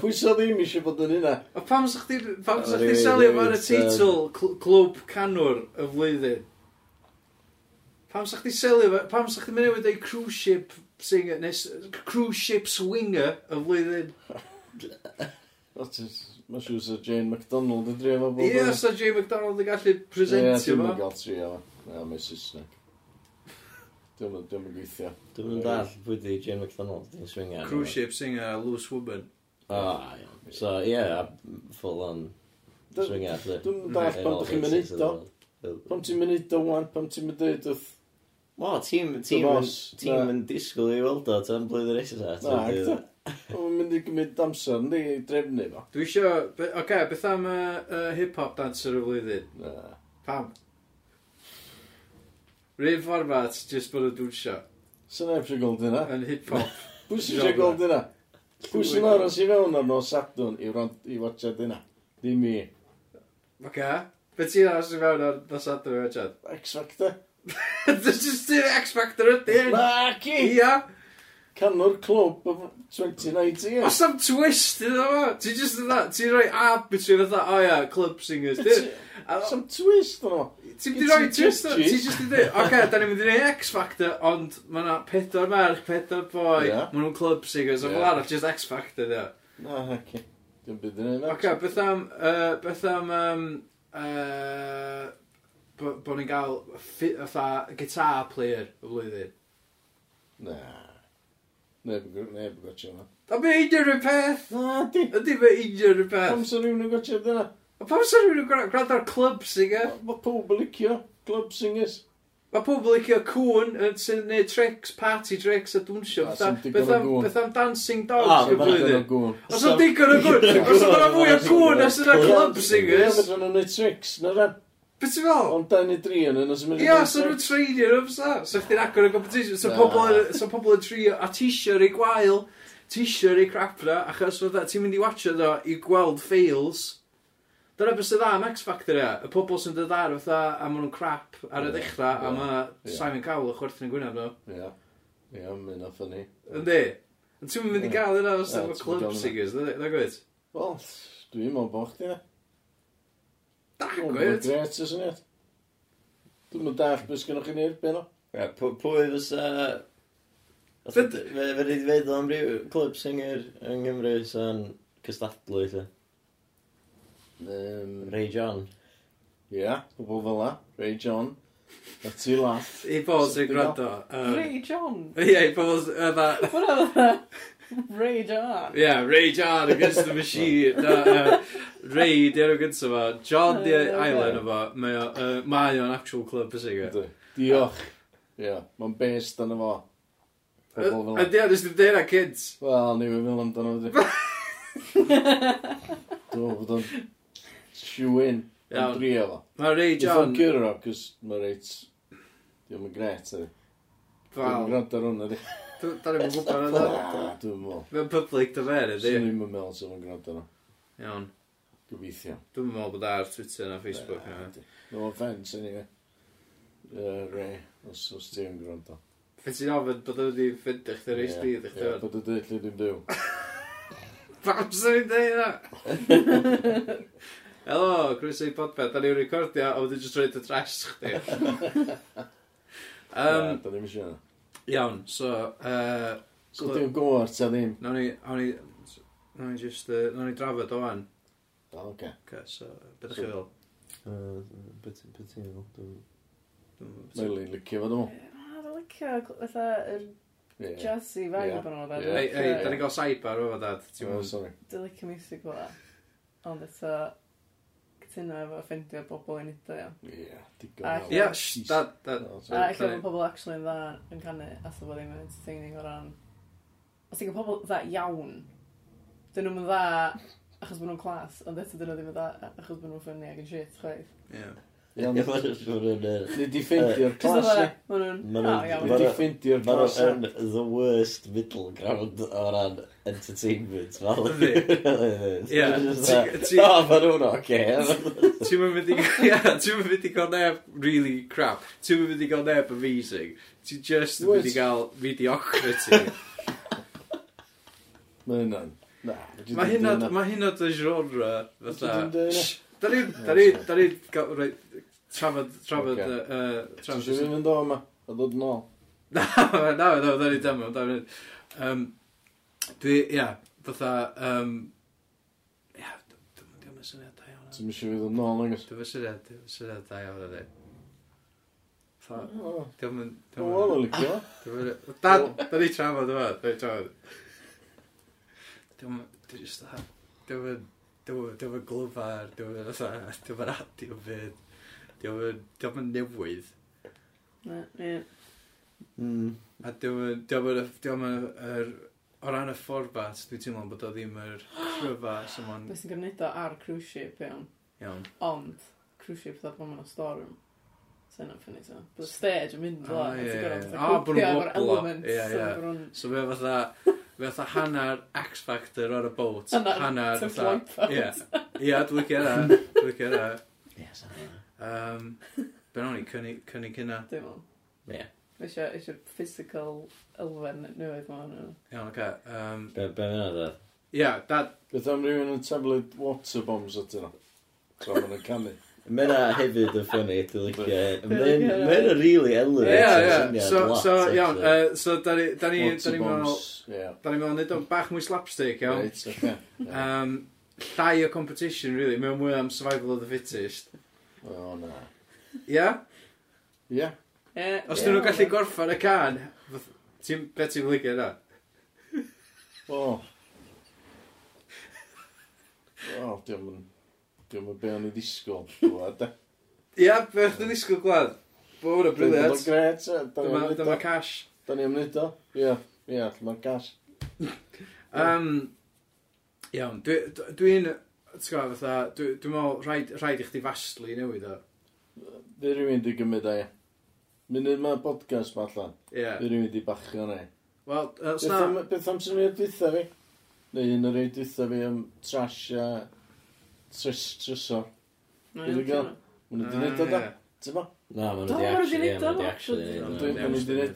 [SPEAKER 4] Pwysa Oh! ddim eisiau bod yn hynna.
[SPEAKER 3] A pam sa chdi, pam sa
[SPEAKER 2] Oh,
[SPEAKER 3] chdi
[SPEAKER 2] really,
[SPEAKER 3] selio fan y
[SPEAKER 2] it's, uh,
[SPEAKER 3] teitl cl- Clwb Canwr y flwyddyn? Pam sa chdi selio fan, pam sa chdi mynd i wedi cruise ship singer, nes cruise ship swinger y flwyddyn?
[SPEAKER 4] That is- Mae'n siŵr sy'n Jane MacDonald yn trio fo bob
[SPEAKER 3] Ie,
[SPEAKER 4] blwyddyn.
[SPEAKER 3] os na Jay MacDonald yn gallu
[SPEAKER 4] Ie,
[SPEAKER 3] presentio
[SPEAKER 4] dwi'm yn
[SPEAKER 3] fo.
[SPEAKER 4] gael trio fo. Na, mae Saesneg. Dwi'm yn- dwi'm yn gweithio.
[SPEAKER 2] Dwi'n yn dall pwy di Jane McDonald yn swingan.
[SPEAKER 3] Cruise ship singer a loose woman.
[SPEAKER 2] O, iawn. So, ie, yeah, full on
[SPEAKER 4] Dw-
[SPEAKER 2] swingan.
[SPEAKER 4] dwi'm yn dallt pam dach chi'n mynd neud o. Pam ti'n mynd i dywan, pam ti'n mynd i dweud
[SPEAKER 2] Wel, tîm, tîm,
[SPEAKER 4] Dy
[SPEAKER 2] yn-
[SPEAKER 4] boss,
[SPEAKER 2] tîm
[SPEAKER 4] na.
[SPEAKER 2] yn disgwyl i weld o tan blwyddyn nesa.
[SPEAKER 4] Na, eto. Mae'n mynd i gymryd amser, yndi, i drefnu fo.
[SPEAKER 3] Dwi isio, be- oce, okay, beth am y y hip-hop dancer y flwyddyn?
[SPEAKER 4] Na.
[SPEAKER 3] Pam? Rhyw format, jyst bod y dwnsio.
[SPEAKER 4] Sa'n neb sy'n gweld hynna.
[SPEAKER 3] Yn hip-hop.
[SPEAKER 4] Pwy sy'n siarad gweld hynna? Pwy sy'n aros i fewn arno sadwn i wrand i watchad hynna? Dim i.
[SPEAKER 3] Oce. Okay. Be ti'n aros i fewn o'r ddosad o'r wedged?
[SPEAKER 4] X Factor.
[SPEAKER 3] Dwi'n just ti'n X-Factor ydyn!
[SPEAKER 4] Na, ci!
[SPEAKER 3] Ia!
[SPEAKER 4] Canwr clwb o 2019.
[SPEAKER 3] Os am twist iddo fo! Ti'n just yna, ti'n rhoi arbitrary fatha, o ia, club singers. Ti'n
[SPEAKER 4] Sam twist yno.
[SPEAKER 3] di rhoi
[SPEAKER 4] Ti'n
[SPEAKER 3] twist o,
[SPEAKER 4] judgy.
[SPEAKER 3] ti'n just i dweud, oce, da ni'n mynd i neud X-Factor, ond mae yna pedwar merch, pedwar boi,
[SPEAKER 4] Ie.
[SPEAKER 3] maen nhw'n club singers, a
[SPEAKER 4] Ie.
[SPEAKER 3] fel arall, just X-Factor dda.
[SPEAKER 4] Na, ci. Dwi'n byd yn hynna.
[SPEAKER 3] Oce, beth am, yy, beth am, yym, yy, bo- bo ni'n gael, ffi- fatha, guitar player y flwyddyn.
[SPEAKER 4] Na. Neb yn gw- neb yn gwachio hwnna.
[SPEAKER 3] A be unrhyw peth?
[SPEAKER 4] Na, di.
[SPEAKER 3] Ydy be unrhyw
[SPEAKER 4] Pam
[SPEAKER 3] peth?
[SPEAKER 4] sy'n rhywun yn gwachio hynna?
[SPEAKER 3] A pam sy'n rhywun yn gwra- gwrando ar club singer?
[SPEAKER 4] Mae pobl licio. Club singers.
[SPEAKER 3] Mae pobl licio cwn yn- sy'n neud tricks, party tricks a dwnsio.
[SPEAKER 4] Na,
[SPEAKER 3] fatha.
[SPEAKER 4] sy'n digon
[SPEAKER 3] Beth
[SPEAKER 4] o
[SPEAKER 3] am-
[SPEAKER 4] cŵn.
[SPEAKER 3] beth am dancing
[SPEAKER 2] Ah,
[SPEAKER 3] dogs y
[SPEAKER 2] ma' hwnna'n
[SPEAKER 3] blwyddyn?
[SPEAKER 4] gwwn.
[SPEAKER 3] Os o'n digon o gwn, os o'n fwy o cwn os yna club
[SPEAKER 4] Ie,
[SPEAKER 3] singers,
[SPEAKER 4] fedrwn nhw'n neud tricks, na ran.
[SPEAKER 3] beth ti'n fel?
[SPEAKER 4] Ond dan i dri yn yna sy'n mynd i
[SPEAKER 3] Ia,
[SPEAKER 4] neud
[SPEAKER 3] so nhw'n
[SPEAKER 4] tricks.
[SPEAKER 3] treinio nhw, fysa? So chdi'n agor y competition, so
[SPEAKER 4] Na.
[SPEAKER 3] pobl yn- so pobl yn trio, a t-shirt i gwael, t-shirt i crap na, achos fydda, ti'n mynd i watcha do i gweld fails. Dyna beth sy'n dda am X Factor ia, y pobl sy'n dod ar fatha, a maen nhw'n crap ar y
[SPEAKER 4] Ie,
[SPEAKER 3] dechrau, a
[SPEAKER 4] ie,
[SPEAKER 3] mae
[SPEAKER 4] ie.
[SPEAKER 3] Simon Cowell yn chwerthin yn gwynaf nhw.
[SPEAKER 4] Ie. Ie, mynd off yn ni.
[SPEAKER 3] Yndi? Ond Ti'n mynd i
[SPEAKER 4] Ie.
[SPEAKER 3] gael yna os efo
[SPEAKER 4] Ie, ti'n mynd i
[SPEAKER 3] club
[SPEAKER 4] gael hwnna.
[SPEAKER 3] singers, na na gwyd?
[SPEAKER 4] Wel, dwi'n meddwl bod chdi na.
[SPEAKER 3] Da
[SPEAKER 4] Dwi'n meddwl bod
[SPEAKER 3] gwyd!
[SPEAKER 4] gret y syniad. Dwi'n meddwl dall beth gynnwch chi neud ben o.
[SPEAKER 2] Ie, pw- Pwy fysa... Fe
[SPEAKER 3] Fyd-
[SPEAKER 2] wedi feddwl am ryw club singer yng Nghymru sy'n cystadlu, lle.
[SPEAKER 4] Yym,
[SPEAKER 2] Ray John.
[SPEAKER 4] Ie, pobl fel la. Ray John. A ti laff.
[SPEAKER 3] I bobl sy'n gwrando. yy,
[SPEAKER 1] Ray John.
[SPEAKER 3] Ie, i bobl sy'n... yy, fatha-
[SPEAKER 1] Ray John.
[SPEAKER 3] Yeah, Rage On Against the Machine. Na, uh, Ray, di enw gyntaf fo. John di
[SPEAKER 1] Oh, okay.
[SPEAKER 3] Island efo. Mae o, uh, mae o'n actual club y singer.
[SPEAKER 4] Ynddi. Diolch. Ie, mae'n based yn fo. Pobl fel
[SPEAKER 3] A
[SPEAKER 4] la.
[SPEAKER 3] di enw sydd dweud kids.
[SPEAKER 4] Wel, ni fi'n meddwl amdano fyddi. Dwi'n bod o'n siwyn. Yn
[SPEAKER 3] Iawn.
[SPEAKER 4] drio fo.
[SPEAKER 3] Mae Ray
[SPEAKER 4] Dwi'n
[SPEAKER 3] John...
[SPEAKER 4] gyro, cos mae'n reit... Dwi'n mynd gret, ydy. Dwi'n
[SPEAKER 3] Wel,
[SPEAKER 4] gwrando ar hwnna, ydy.
[SPEAKER 3] dwi- da ni'n gwybod ar yna.
[SPEAKER 4] Ah, Dwi'n meddwl.
[SPEAKER 3] Mae'n public dy fer,
[SPEAKER 4] Swn
[SPEAKER 3] ydi.
[SPEAKER 4] i'n meddwl sef yn gwrando arno.
[SPEAKER 3] Iawn.
[SPEAKER 4] Gobeithio. Ah,
[SPEAKER 3] Dwi'n meddwl bod ar Twitter na Facebook.
[SPEAKER 4] Na,
[SPEAKER 3] na.
[SPEAKER 4] ydy. No offence, anyway. Yy, Ray, os os ti yn gwrando.
[SPEAKER 3] Fe ti'n ofyn bod o wedi ffyndio chdi reis
[SPEAKER 4] Ie,
[SPEAKER 3] di ydych
[SPEAKER 4] ie,
[SPEAKER 3] chi'n
[SPEAKER 4] Bod y dweud lle dwi'n byw.
[SPEAKER 3] Pam sy'n ni'n dweud yna? Helo, Chris i Podpeth, da ni'n recordio a wedi just roed y trash chdi.
[SPEAKER 4] Um,
[SPEAKER 3] um,
[SPEAKER 4] da ni'n siarad.
[SPEAKER 3] iawn, so, uh,
[SPEAKER 4] So dwi'n gwrs a ddim.
[SPEAKER 3] nawn ni, nawn ni, nawn ni just, uh, nawn ni drafod o wan.
[SPEAKER 4] O, oce.
[SPEAKER 3] Okay, so, beth ydych chi'n fel?
[SPEAKER 2] Beth ti'n meddwl?
[SPEAKER 3] Dwi'n-
[SPEAKER 4] Mae'n licio fod o.
[SPEAKER 1] Na, dwi'n licio fatha yr
[SPEAKER 4] Ie.
[SPEAKER 1] jazzy vibe
[SPEAKER 4] Ie.
[SPEAKER 1] yn o'n dad.
[SPEAKER 4] Ie.
[SPEAKER 3] Ei, ei, da
[SPEAKER 1] Dwi'n
[SPEAKER 3] ni'n
[SPEAKER 1] licio-
[SPEAKER 3] cael sidebar o fo dad. Ti'n
[SPEAKER 4] O,
[SPEAKER 3] meddwl?
[SPEAKER 4] sorry.
[SPEAKER 1] Dwi'n licio music fel that. Ond eto, cytuno efo ffendio bobl yn edo, iawn.
[SPEAKER 4] Ie,
[SPEAKER 1] A-
[SPEAKER 4] digon.
[SPEAKER 3] Ie, sh, dad, dad.
[SPEAKER 1] A
[SPEAKER 4] dad.
[SPEAKER 3] Sorry,
[SPEAKER 1] eich bod
[SPEAKER 3] sorry.
[SPEAKER 1] pobl actually yn dda yn canu atho bod ddim yn entertaining o ran... Os ti'n cael pobl dda iawn, dyn nhw'n dda achos bod nhw'n clas, ond eto dyn nhw ddim yn dda achos bod nhw'n ffynnu ac yn shit, chwaith.
[SPEAKER 3] Ie.
[SPEAKER 4] Iawn.
[SPEAKER 2] Ie, ma'n siŵr yn yr...
[SPEAKER 4] Ni di ffeindio'r
[SPEAKER 1] Just
[SPEAKER 4] clas,
[SPEAKER 1] fatha,
[SPEAKER 4] ie.
[SPEAKER 1] ma' nhw'n...
[SPEAKER 2] Ma'
[SPEAKER 1] "O,
[SPEAKER 2] nhw'n-
[SPEAKER 1] iawn."
[SPEAKER 4] Ni
[SPEAKER 2] Ma'
[SPEAKER 4] di
[SPEAKER 2] nhw-
[SPEAKER 4] ffeindio'r
[SPEAKER 2] Ma'n
[SPEAKER 4] clas, ie.
[SPEAKER 2] yn the worst middle ground o ran entertainment. Fel
[SPEAKER 3] Yndi. Ie, ti- ti-
[SPEAKER 2] O, ma nhw'n oce.
[SPEAKER 3] Ti'n mynd i Ie, ti'n mynd i gael neb really crap. Ti'n mynd i gael neb amazing. Ti'n just yn mynd i
[SPEAKER 4] Wyt.
[SPEAKER 3] gael mediocrity.
[SPEAKER 4] Mae hynna'n... Na, fedri
[SPEAKER 3] Mae
[SPEAKER 4] di'm
[SPEAKER 3] hynna,
[SPEAKER 4] deud
[SPEAKER 3] mae hynna dy genre fatha...
[SPEAKER 4] Fedri di'm deud hynna.
[SPEAKER 3] Shh, Da ni, da ni, da ni, gael- reit, trafod, trafod,
[SPEAKER 4] Ocê.
[SPEAKER 3] yy, yy,
[SPEAKER 4] Ti'n
[SPEAKER 3] trafod...
[SPEAKER 4] siŵr yn mynd o yma, a dod yn ôl.
[SPEAKER 3] Na, na, na, da ni dyma, da ni. Yym, Dwi, ia, fatha, yym, ia, dwi'n mynd i'n syniad da iawn.
[SPEAKER 4] Ti'n mysio fydd yn ôl, agos.
[SPEAKER 3] Dwi'n syniad, dwi'n syniad da iawn, da ni. Fatha,
[SPEAKER 4] O,
[SPEAKER 3] Dwi'n mynd...
[SPEAKER 4] o, wel, o, licio.
[SPEAKER 3] Dwi'n mynd... Dad, da ni trafod yma, da ni trafod. Dwi'n mynd... Dwi'n just da... Dwi'n mynd... Dwi'n mynd glyfar, dwi'n mynd atha, dwi'n mynd adio fyd. Dwi'n mynd... Dwi'n mynd newydd.
[SPEAKER 1] Na, ie.
[SPEAKER 3] A dwi'n mynd... Dwi'n mynd... Dwi'n mynd... yr- O ran y fformat, dwi'n teimlo bod o ddim yr cryfa sy'n ma'n...
[SPEAKER 1] Beth sy'n gwneud o ar cruise ship, iawn.
[SPEAKER 3] Iawn.
[SPEAKER 1] Ond, cruise ship dda pan mae'n storm. Sa'n o'n ffynnu to. Bydd stage yn mynd
[SPEAKER 3] Ah,
[SPEAKER 1] fel
[SPEAKER 3] ie, ie.
[SPEAKER 1] that.
[SPEAKER 3] Ah, bod nhw'n boblo. Ie, ie.
[SPEAKER 1] Ie,
[SPEAKER 3] So fe fatha... Fe fatha hanner X Factor ar y boat.
[SPEAKER 1] Hannar
[SPEAKER 3] Hanner...
[SPEAKER 1] to
[SPEAKER 3] fatha-
[SPEAKER 1] wipe
[SPEAKER 3] Ie.
[SPEAKER 1] out.
[SPEAKER 3] Ie, dwi'n gera. Dwi'n gera.
[SPEAKER 2] Yes,
[SPEAKER 3] Um, Be nawn ni cynnig cynnig hynna.
[SPEAKER 1] Dim ond.
[SPEAKER 2] Ie.
[SPEAKER 1] Eisiau eisiau physical elfen newydd ma'n nhw.
[SPEAKER 3] Iawn, oce. Um,
[SPEAKER 2] Be be fyna dda?
[SPEAKER 3] Ia, dad,
[SPEAKER 4] Beth am rhywun yn tablet water bombs at yna? Tra ma'n yn canu.
[SPEAKER 2] Mae yna hefyd yn ffynnu, dwi'n licio. e. Mae
[SPEAKER 1] Dwi'n licio.
[SPEAKER 2] yna really
[SPEAKER 3] Ie,
[SPEAKER 2] elwy.
[SPEAKER 3] ie, ie. So, so, iawn, yy, so, da ni, da ni, da
[SPEAKER 4] Water
[SPEAKER 3] ni meddwl,
[SPEAKER 4] bombs, ie.
[SPEAKER 3] da ni meddwl, nid o'n bach mwy slapstick, iawn.
[SPEAKER 4] Reit, oce. Ie.
[SPEAKER 3] Um, llai o competition, really, mewn mwy am survival of the fittest.
[SPEAKER 4] O, na.
[SPEAKER 3] Ia? Yeah?
[SPEAKER 4] Ie.
[SPEAKER 1] Ie.
[SPEAKER 3] Os
[SPEAKER 1] ie,
[SPEAKER 3] dyn nhw'n
[SPEAKER 1] ond-
[SPEAKER 3] gallu gorffan y can, fath- ti'n, be ti'n flicio yna?
[SPEAKER 4] O. O, diolch yn... Diolch yn be o'n i ddisgwyl. Dwi'n da.
[SPEAKER 3] Ia, be o'ch ti'n ddisgwyl glad? Bo hwnna briliant.
[SPEAKER 4] Gret, ie. Da ni'n
[SPEAKER 3] Dyma
[SPEAKER 4] mynd o.
[SPEAKER 3] dyma cash.
[SPEAKER 4] Da ni'n mynd o. Ie. Ie, lle mae'r gas.
[SPEAKER 3] Um, iawn, dwi- dwi- dwi'n, ti'n gwybod, fatha, dwi- dwi'n meddwl, rhaid rhaid i chdi fastlu newid o.
[SPEAKER 4] Fe rhywun di gymryd a ie. Munud mae'r podcast ma allan.
[SPEAKER 3] Ia.
[SPEAKER 4] Fe rhywun di bachio na i.
[SPEAKER 3] Wel, os
[SPEAKER 4] Beth
[SPEAKER 3] na...
[SPEAKER 4] am- Beth am syniad dwytha fi? Neu un o'r ei dwytha fi am trash a trys, trysor.
[SPEAKER 1] Na,
[SPEAKER 4] Dwi'n
[SPEAKER 1] iawn,
[SPEAKER 4] gael.
[SPEAKER 1] ti'n-
[SPEAKER 4] Mae'n
[SPEAKER 3] Ah,
[SPEAKER 4] wedi gwneud o da. Ti'n ma?
[SPEAKER 2] Na, maen
[SPEAKER 1] Do,
[SPEAKER 2] nhw
[SPEAKER 1] ma' nhw 'di
[SPEAKER 2] wedi
[SPEAKER 1] neud o,
[SPEAKER 2] actually,
[SPEAKER 1] actually.
[SPEAKER 2] actually.
[SPEAKER 4] Ond dwi'n- Hmm.
[SPEAKER 2] neud Hmm.
[SPEAKER 4] dwi'n-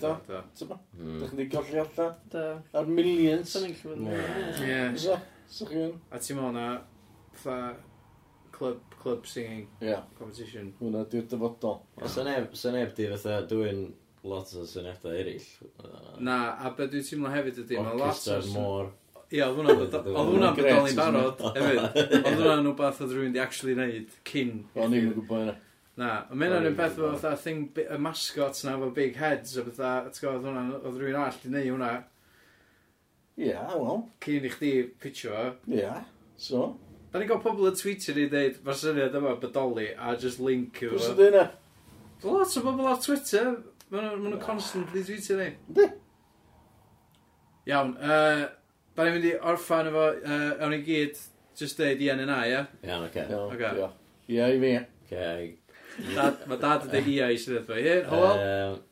[SPEAKER 4] Ti'n ma?
[SPEAKER 2] o.
[SPEAKER 4] Dych chi'n golli allan
[SPEAKER 1] Da.
[SPEAKER 4] ar millions.
[SPEAKER 1] Sa'n ni'n gallu bod yn
[SPEAKER 3] Ie.
[SPEAKER 4] So, so chi'n...
[SPEAKER 3] A ti'n meddwl na, fatha, club, club singing
[SPEAKER 4] Ie,
[SPEAKER 3] competition.
[SPEAKER 4] hwnna di'r dyfodol.
[SPEAKER 2] Os yna neb di fatha dwi'n lot o syniadau eraill.
[SPEAKER 3] Na, a be dwi'n teimlo hefyd ydy, mae lot o...
[SPEAKER 2] Orchestra môr.
[SPEAKER 3] Ie, oedd hwnna bod- oedd hwnna'n
[SPEAKER 4] Grêt,
[SPEAKER 3] bodoli'n
[SPEAKER 4] isn't
[SPEAKER 3] barod, hefyd. Oedd hwnna'n wbeth oedd rhywun di actually neud cyn.
[SPEAKER 4] O'n i'n gwybod hynna.
[SPEAKER 3] Na, ond mae hwnna'n
[SPEAKER 2] O'n
[SPEAKER 3] un
[SPEAKER 2] i'm
[SPEAKER 3] beth
[SPEAKER 2] gwbod.
[SPEAKER 3] oedd fatha thing, bi- y mascots na, efo big heads, a bethau, ti'n gwybod, oedd hwnna'n, oedd rhywun all di neud hwnna
[SPEAKER 4] Ie, wel.
[SPEAKER 3] cyn i chdi pitcho fo.
[SPEAKER 4] Ie. So,
[SPEAKER 3] Da ni'n gael pobl yn Twitter i ddeud, mae'r syniad yma bodoli, a just link yw.
[SPEAKER 4] pwys ydy hynna?
[SPEAKER 3] Lot o bobl ar Twitter, maen nhw- maen nhw'n constantly tweetio ni.
[SPEAKER 4] Yndi.
[SPEAKER 3] Iawn, uh, da ni'n mynd i orffan efo, uh, awn ni gyd, just deud i yn yna, ia?
[SPEAKER 2] Iawn, oce.
[SPEAKER 4] Iawn,
[SPEAKER 3] Oce.
[SPEAKER 4] diolch. Ie, i fi.
[SPEAKER 2] Oce,
[SPEAKER 3] Dad, mae dad yn deud ia i sydd efo. Hyn, hwyl.
[SPEAKER 2] Yym,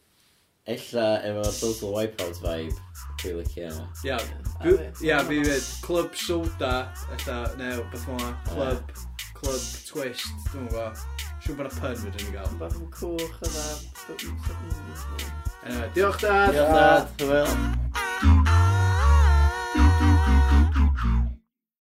[SPEAKER 2] Ella efo Total Wipeout vibe Dwi'n licio yma
[SPEAKER 3] Iawn.
[SPEAKER 1] A
[SPEAKER 3] Dw-
[SPEAKER 1] fi.
[SPEAKER 3] Ia, fi fyd. Club e? soda, eitha, neu beth mae Club, club twist, dwi'n gwybod. Siw bod y pun fydyn ni gael.
[SPEAKER 1] Bach o cwch yna.
[SPEAKER 3] Anyway, diolch dad!
[SPEAKER 1] Diolch dad, hwyl.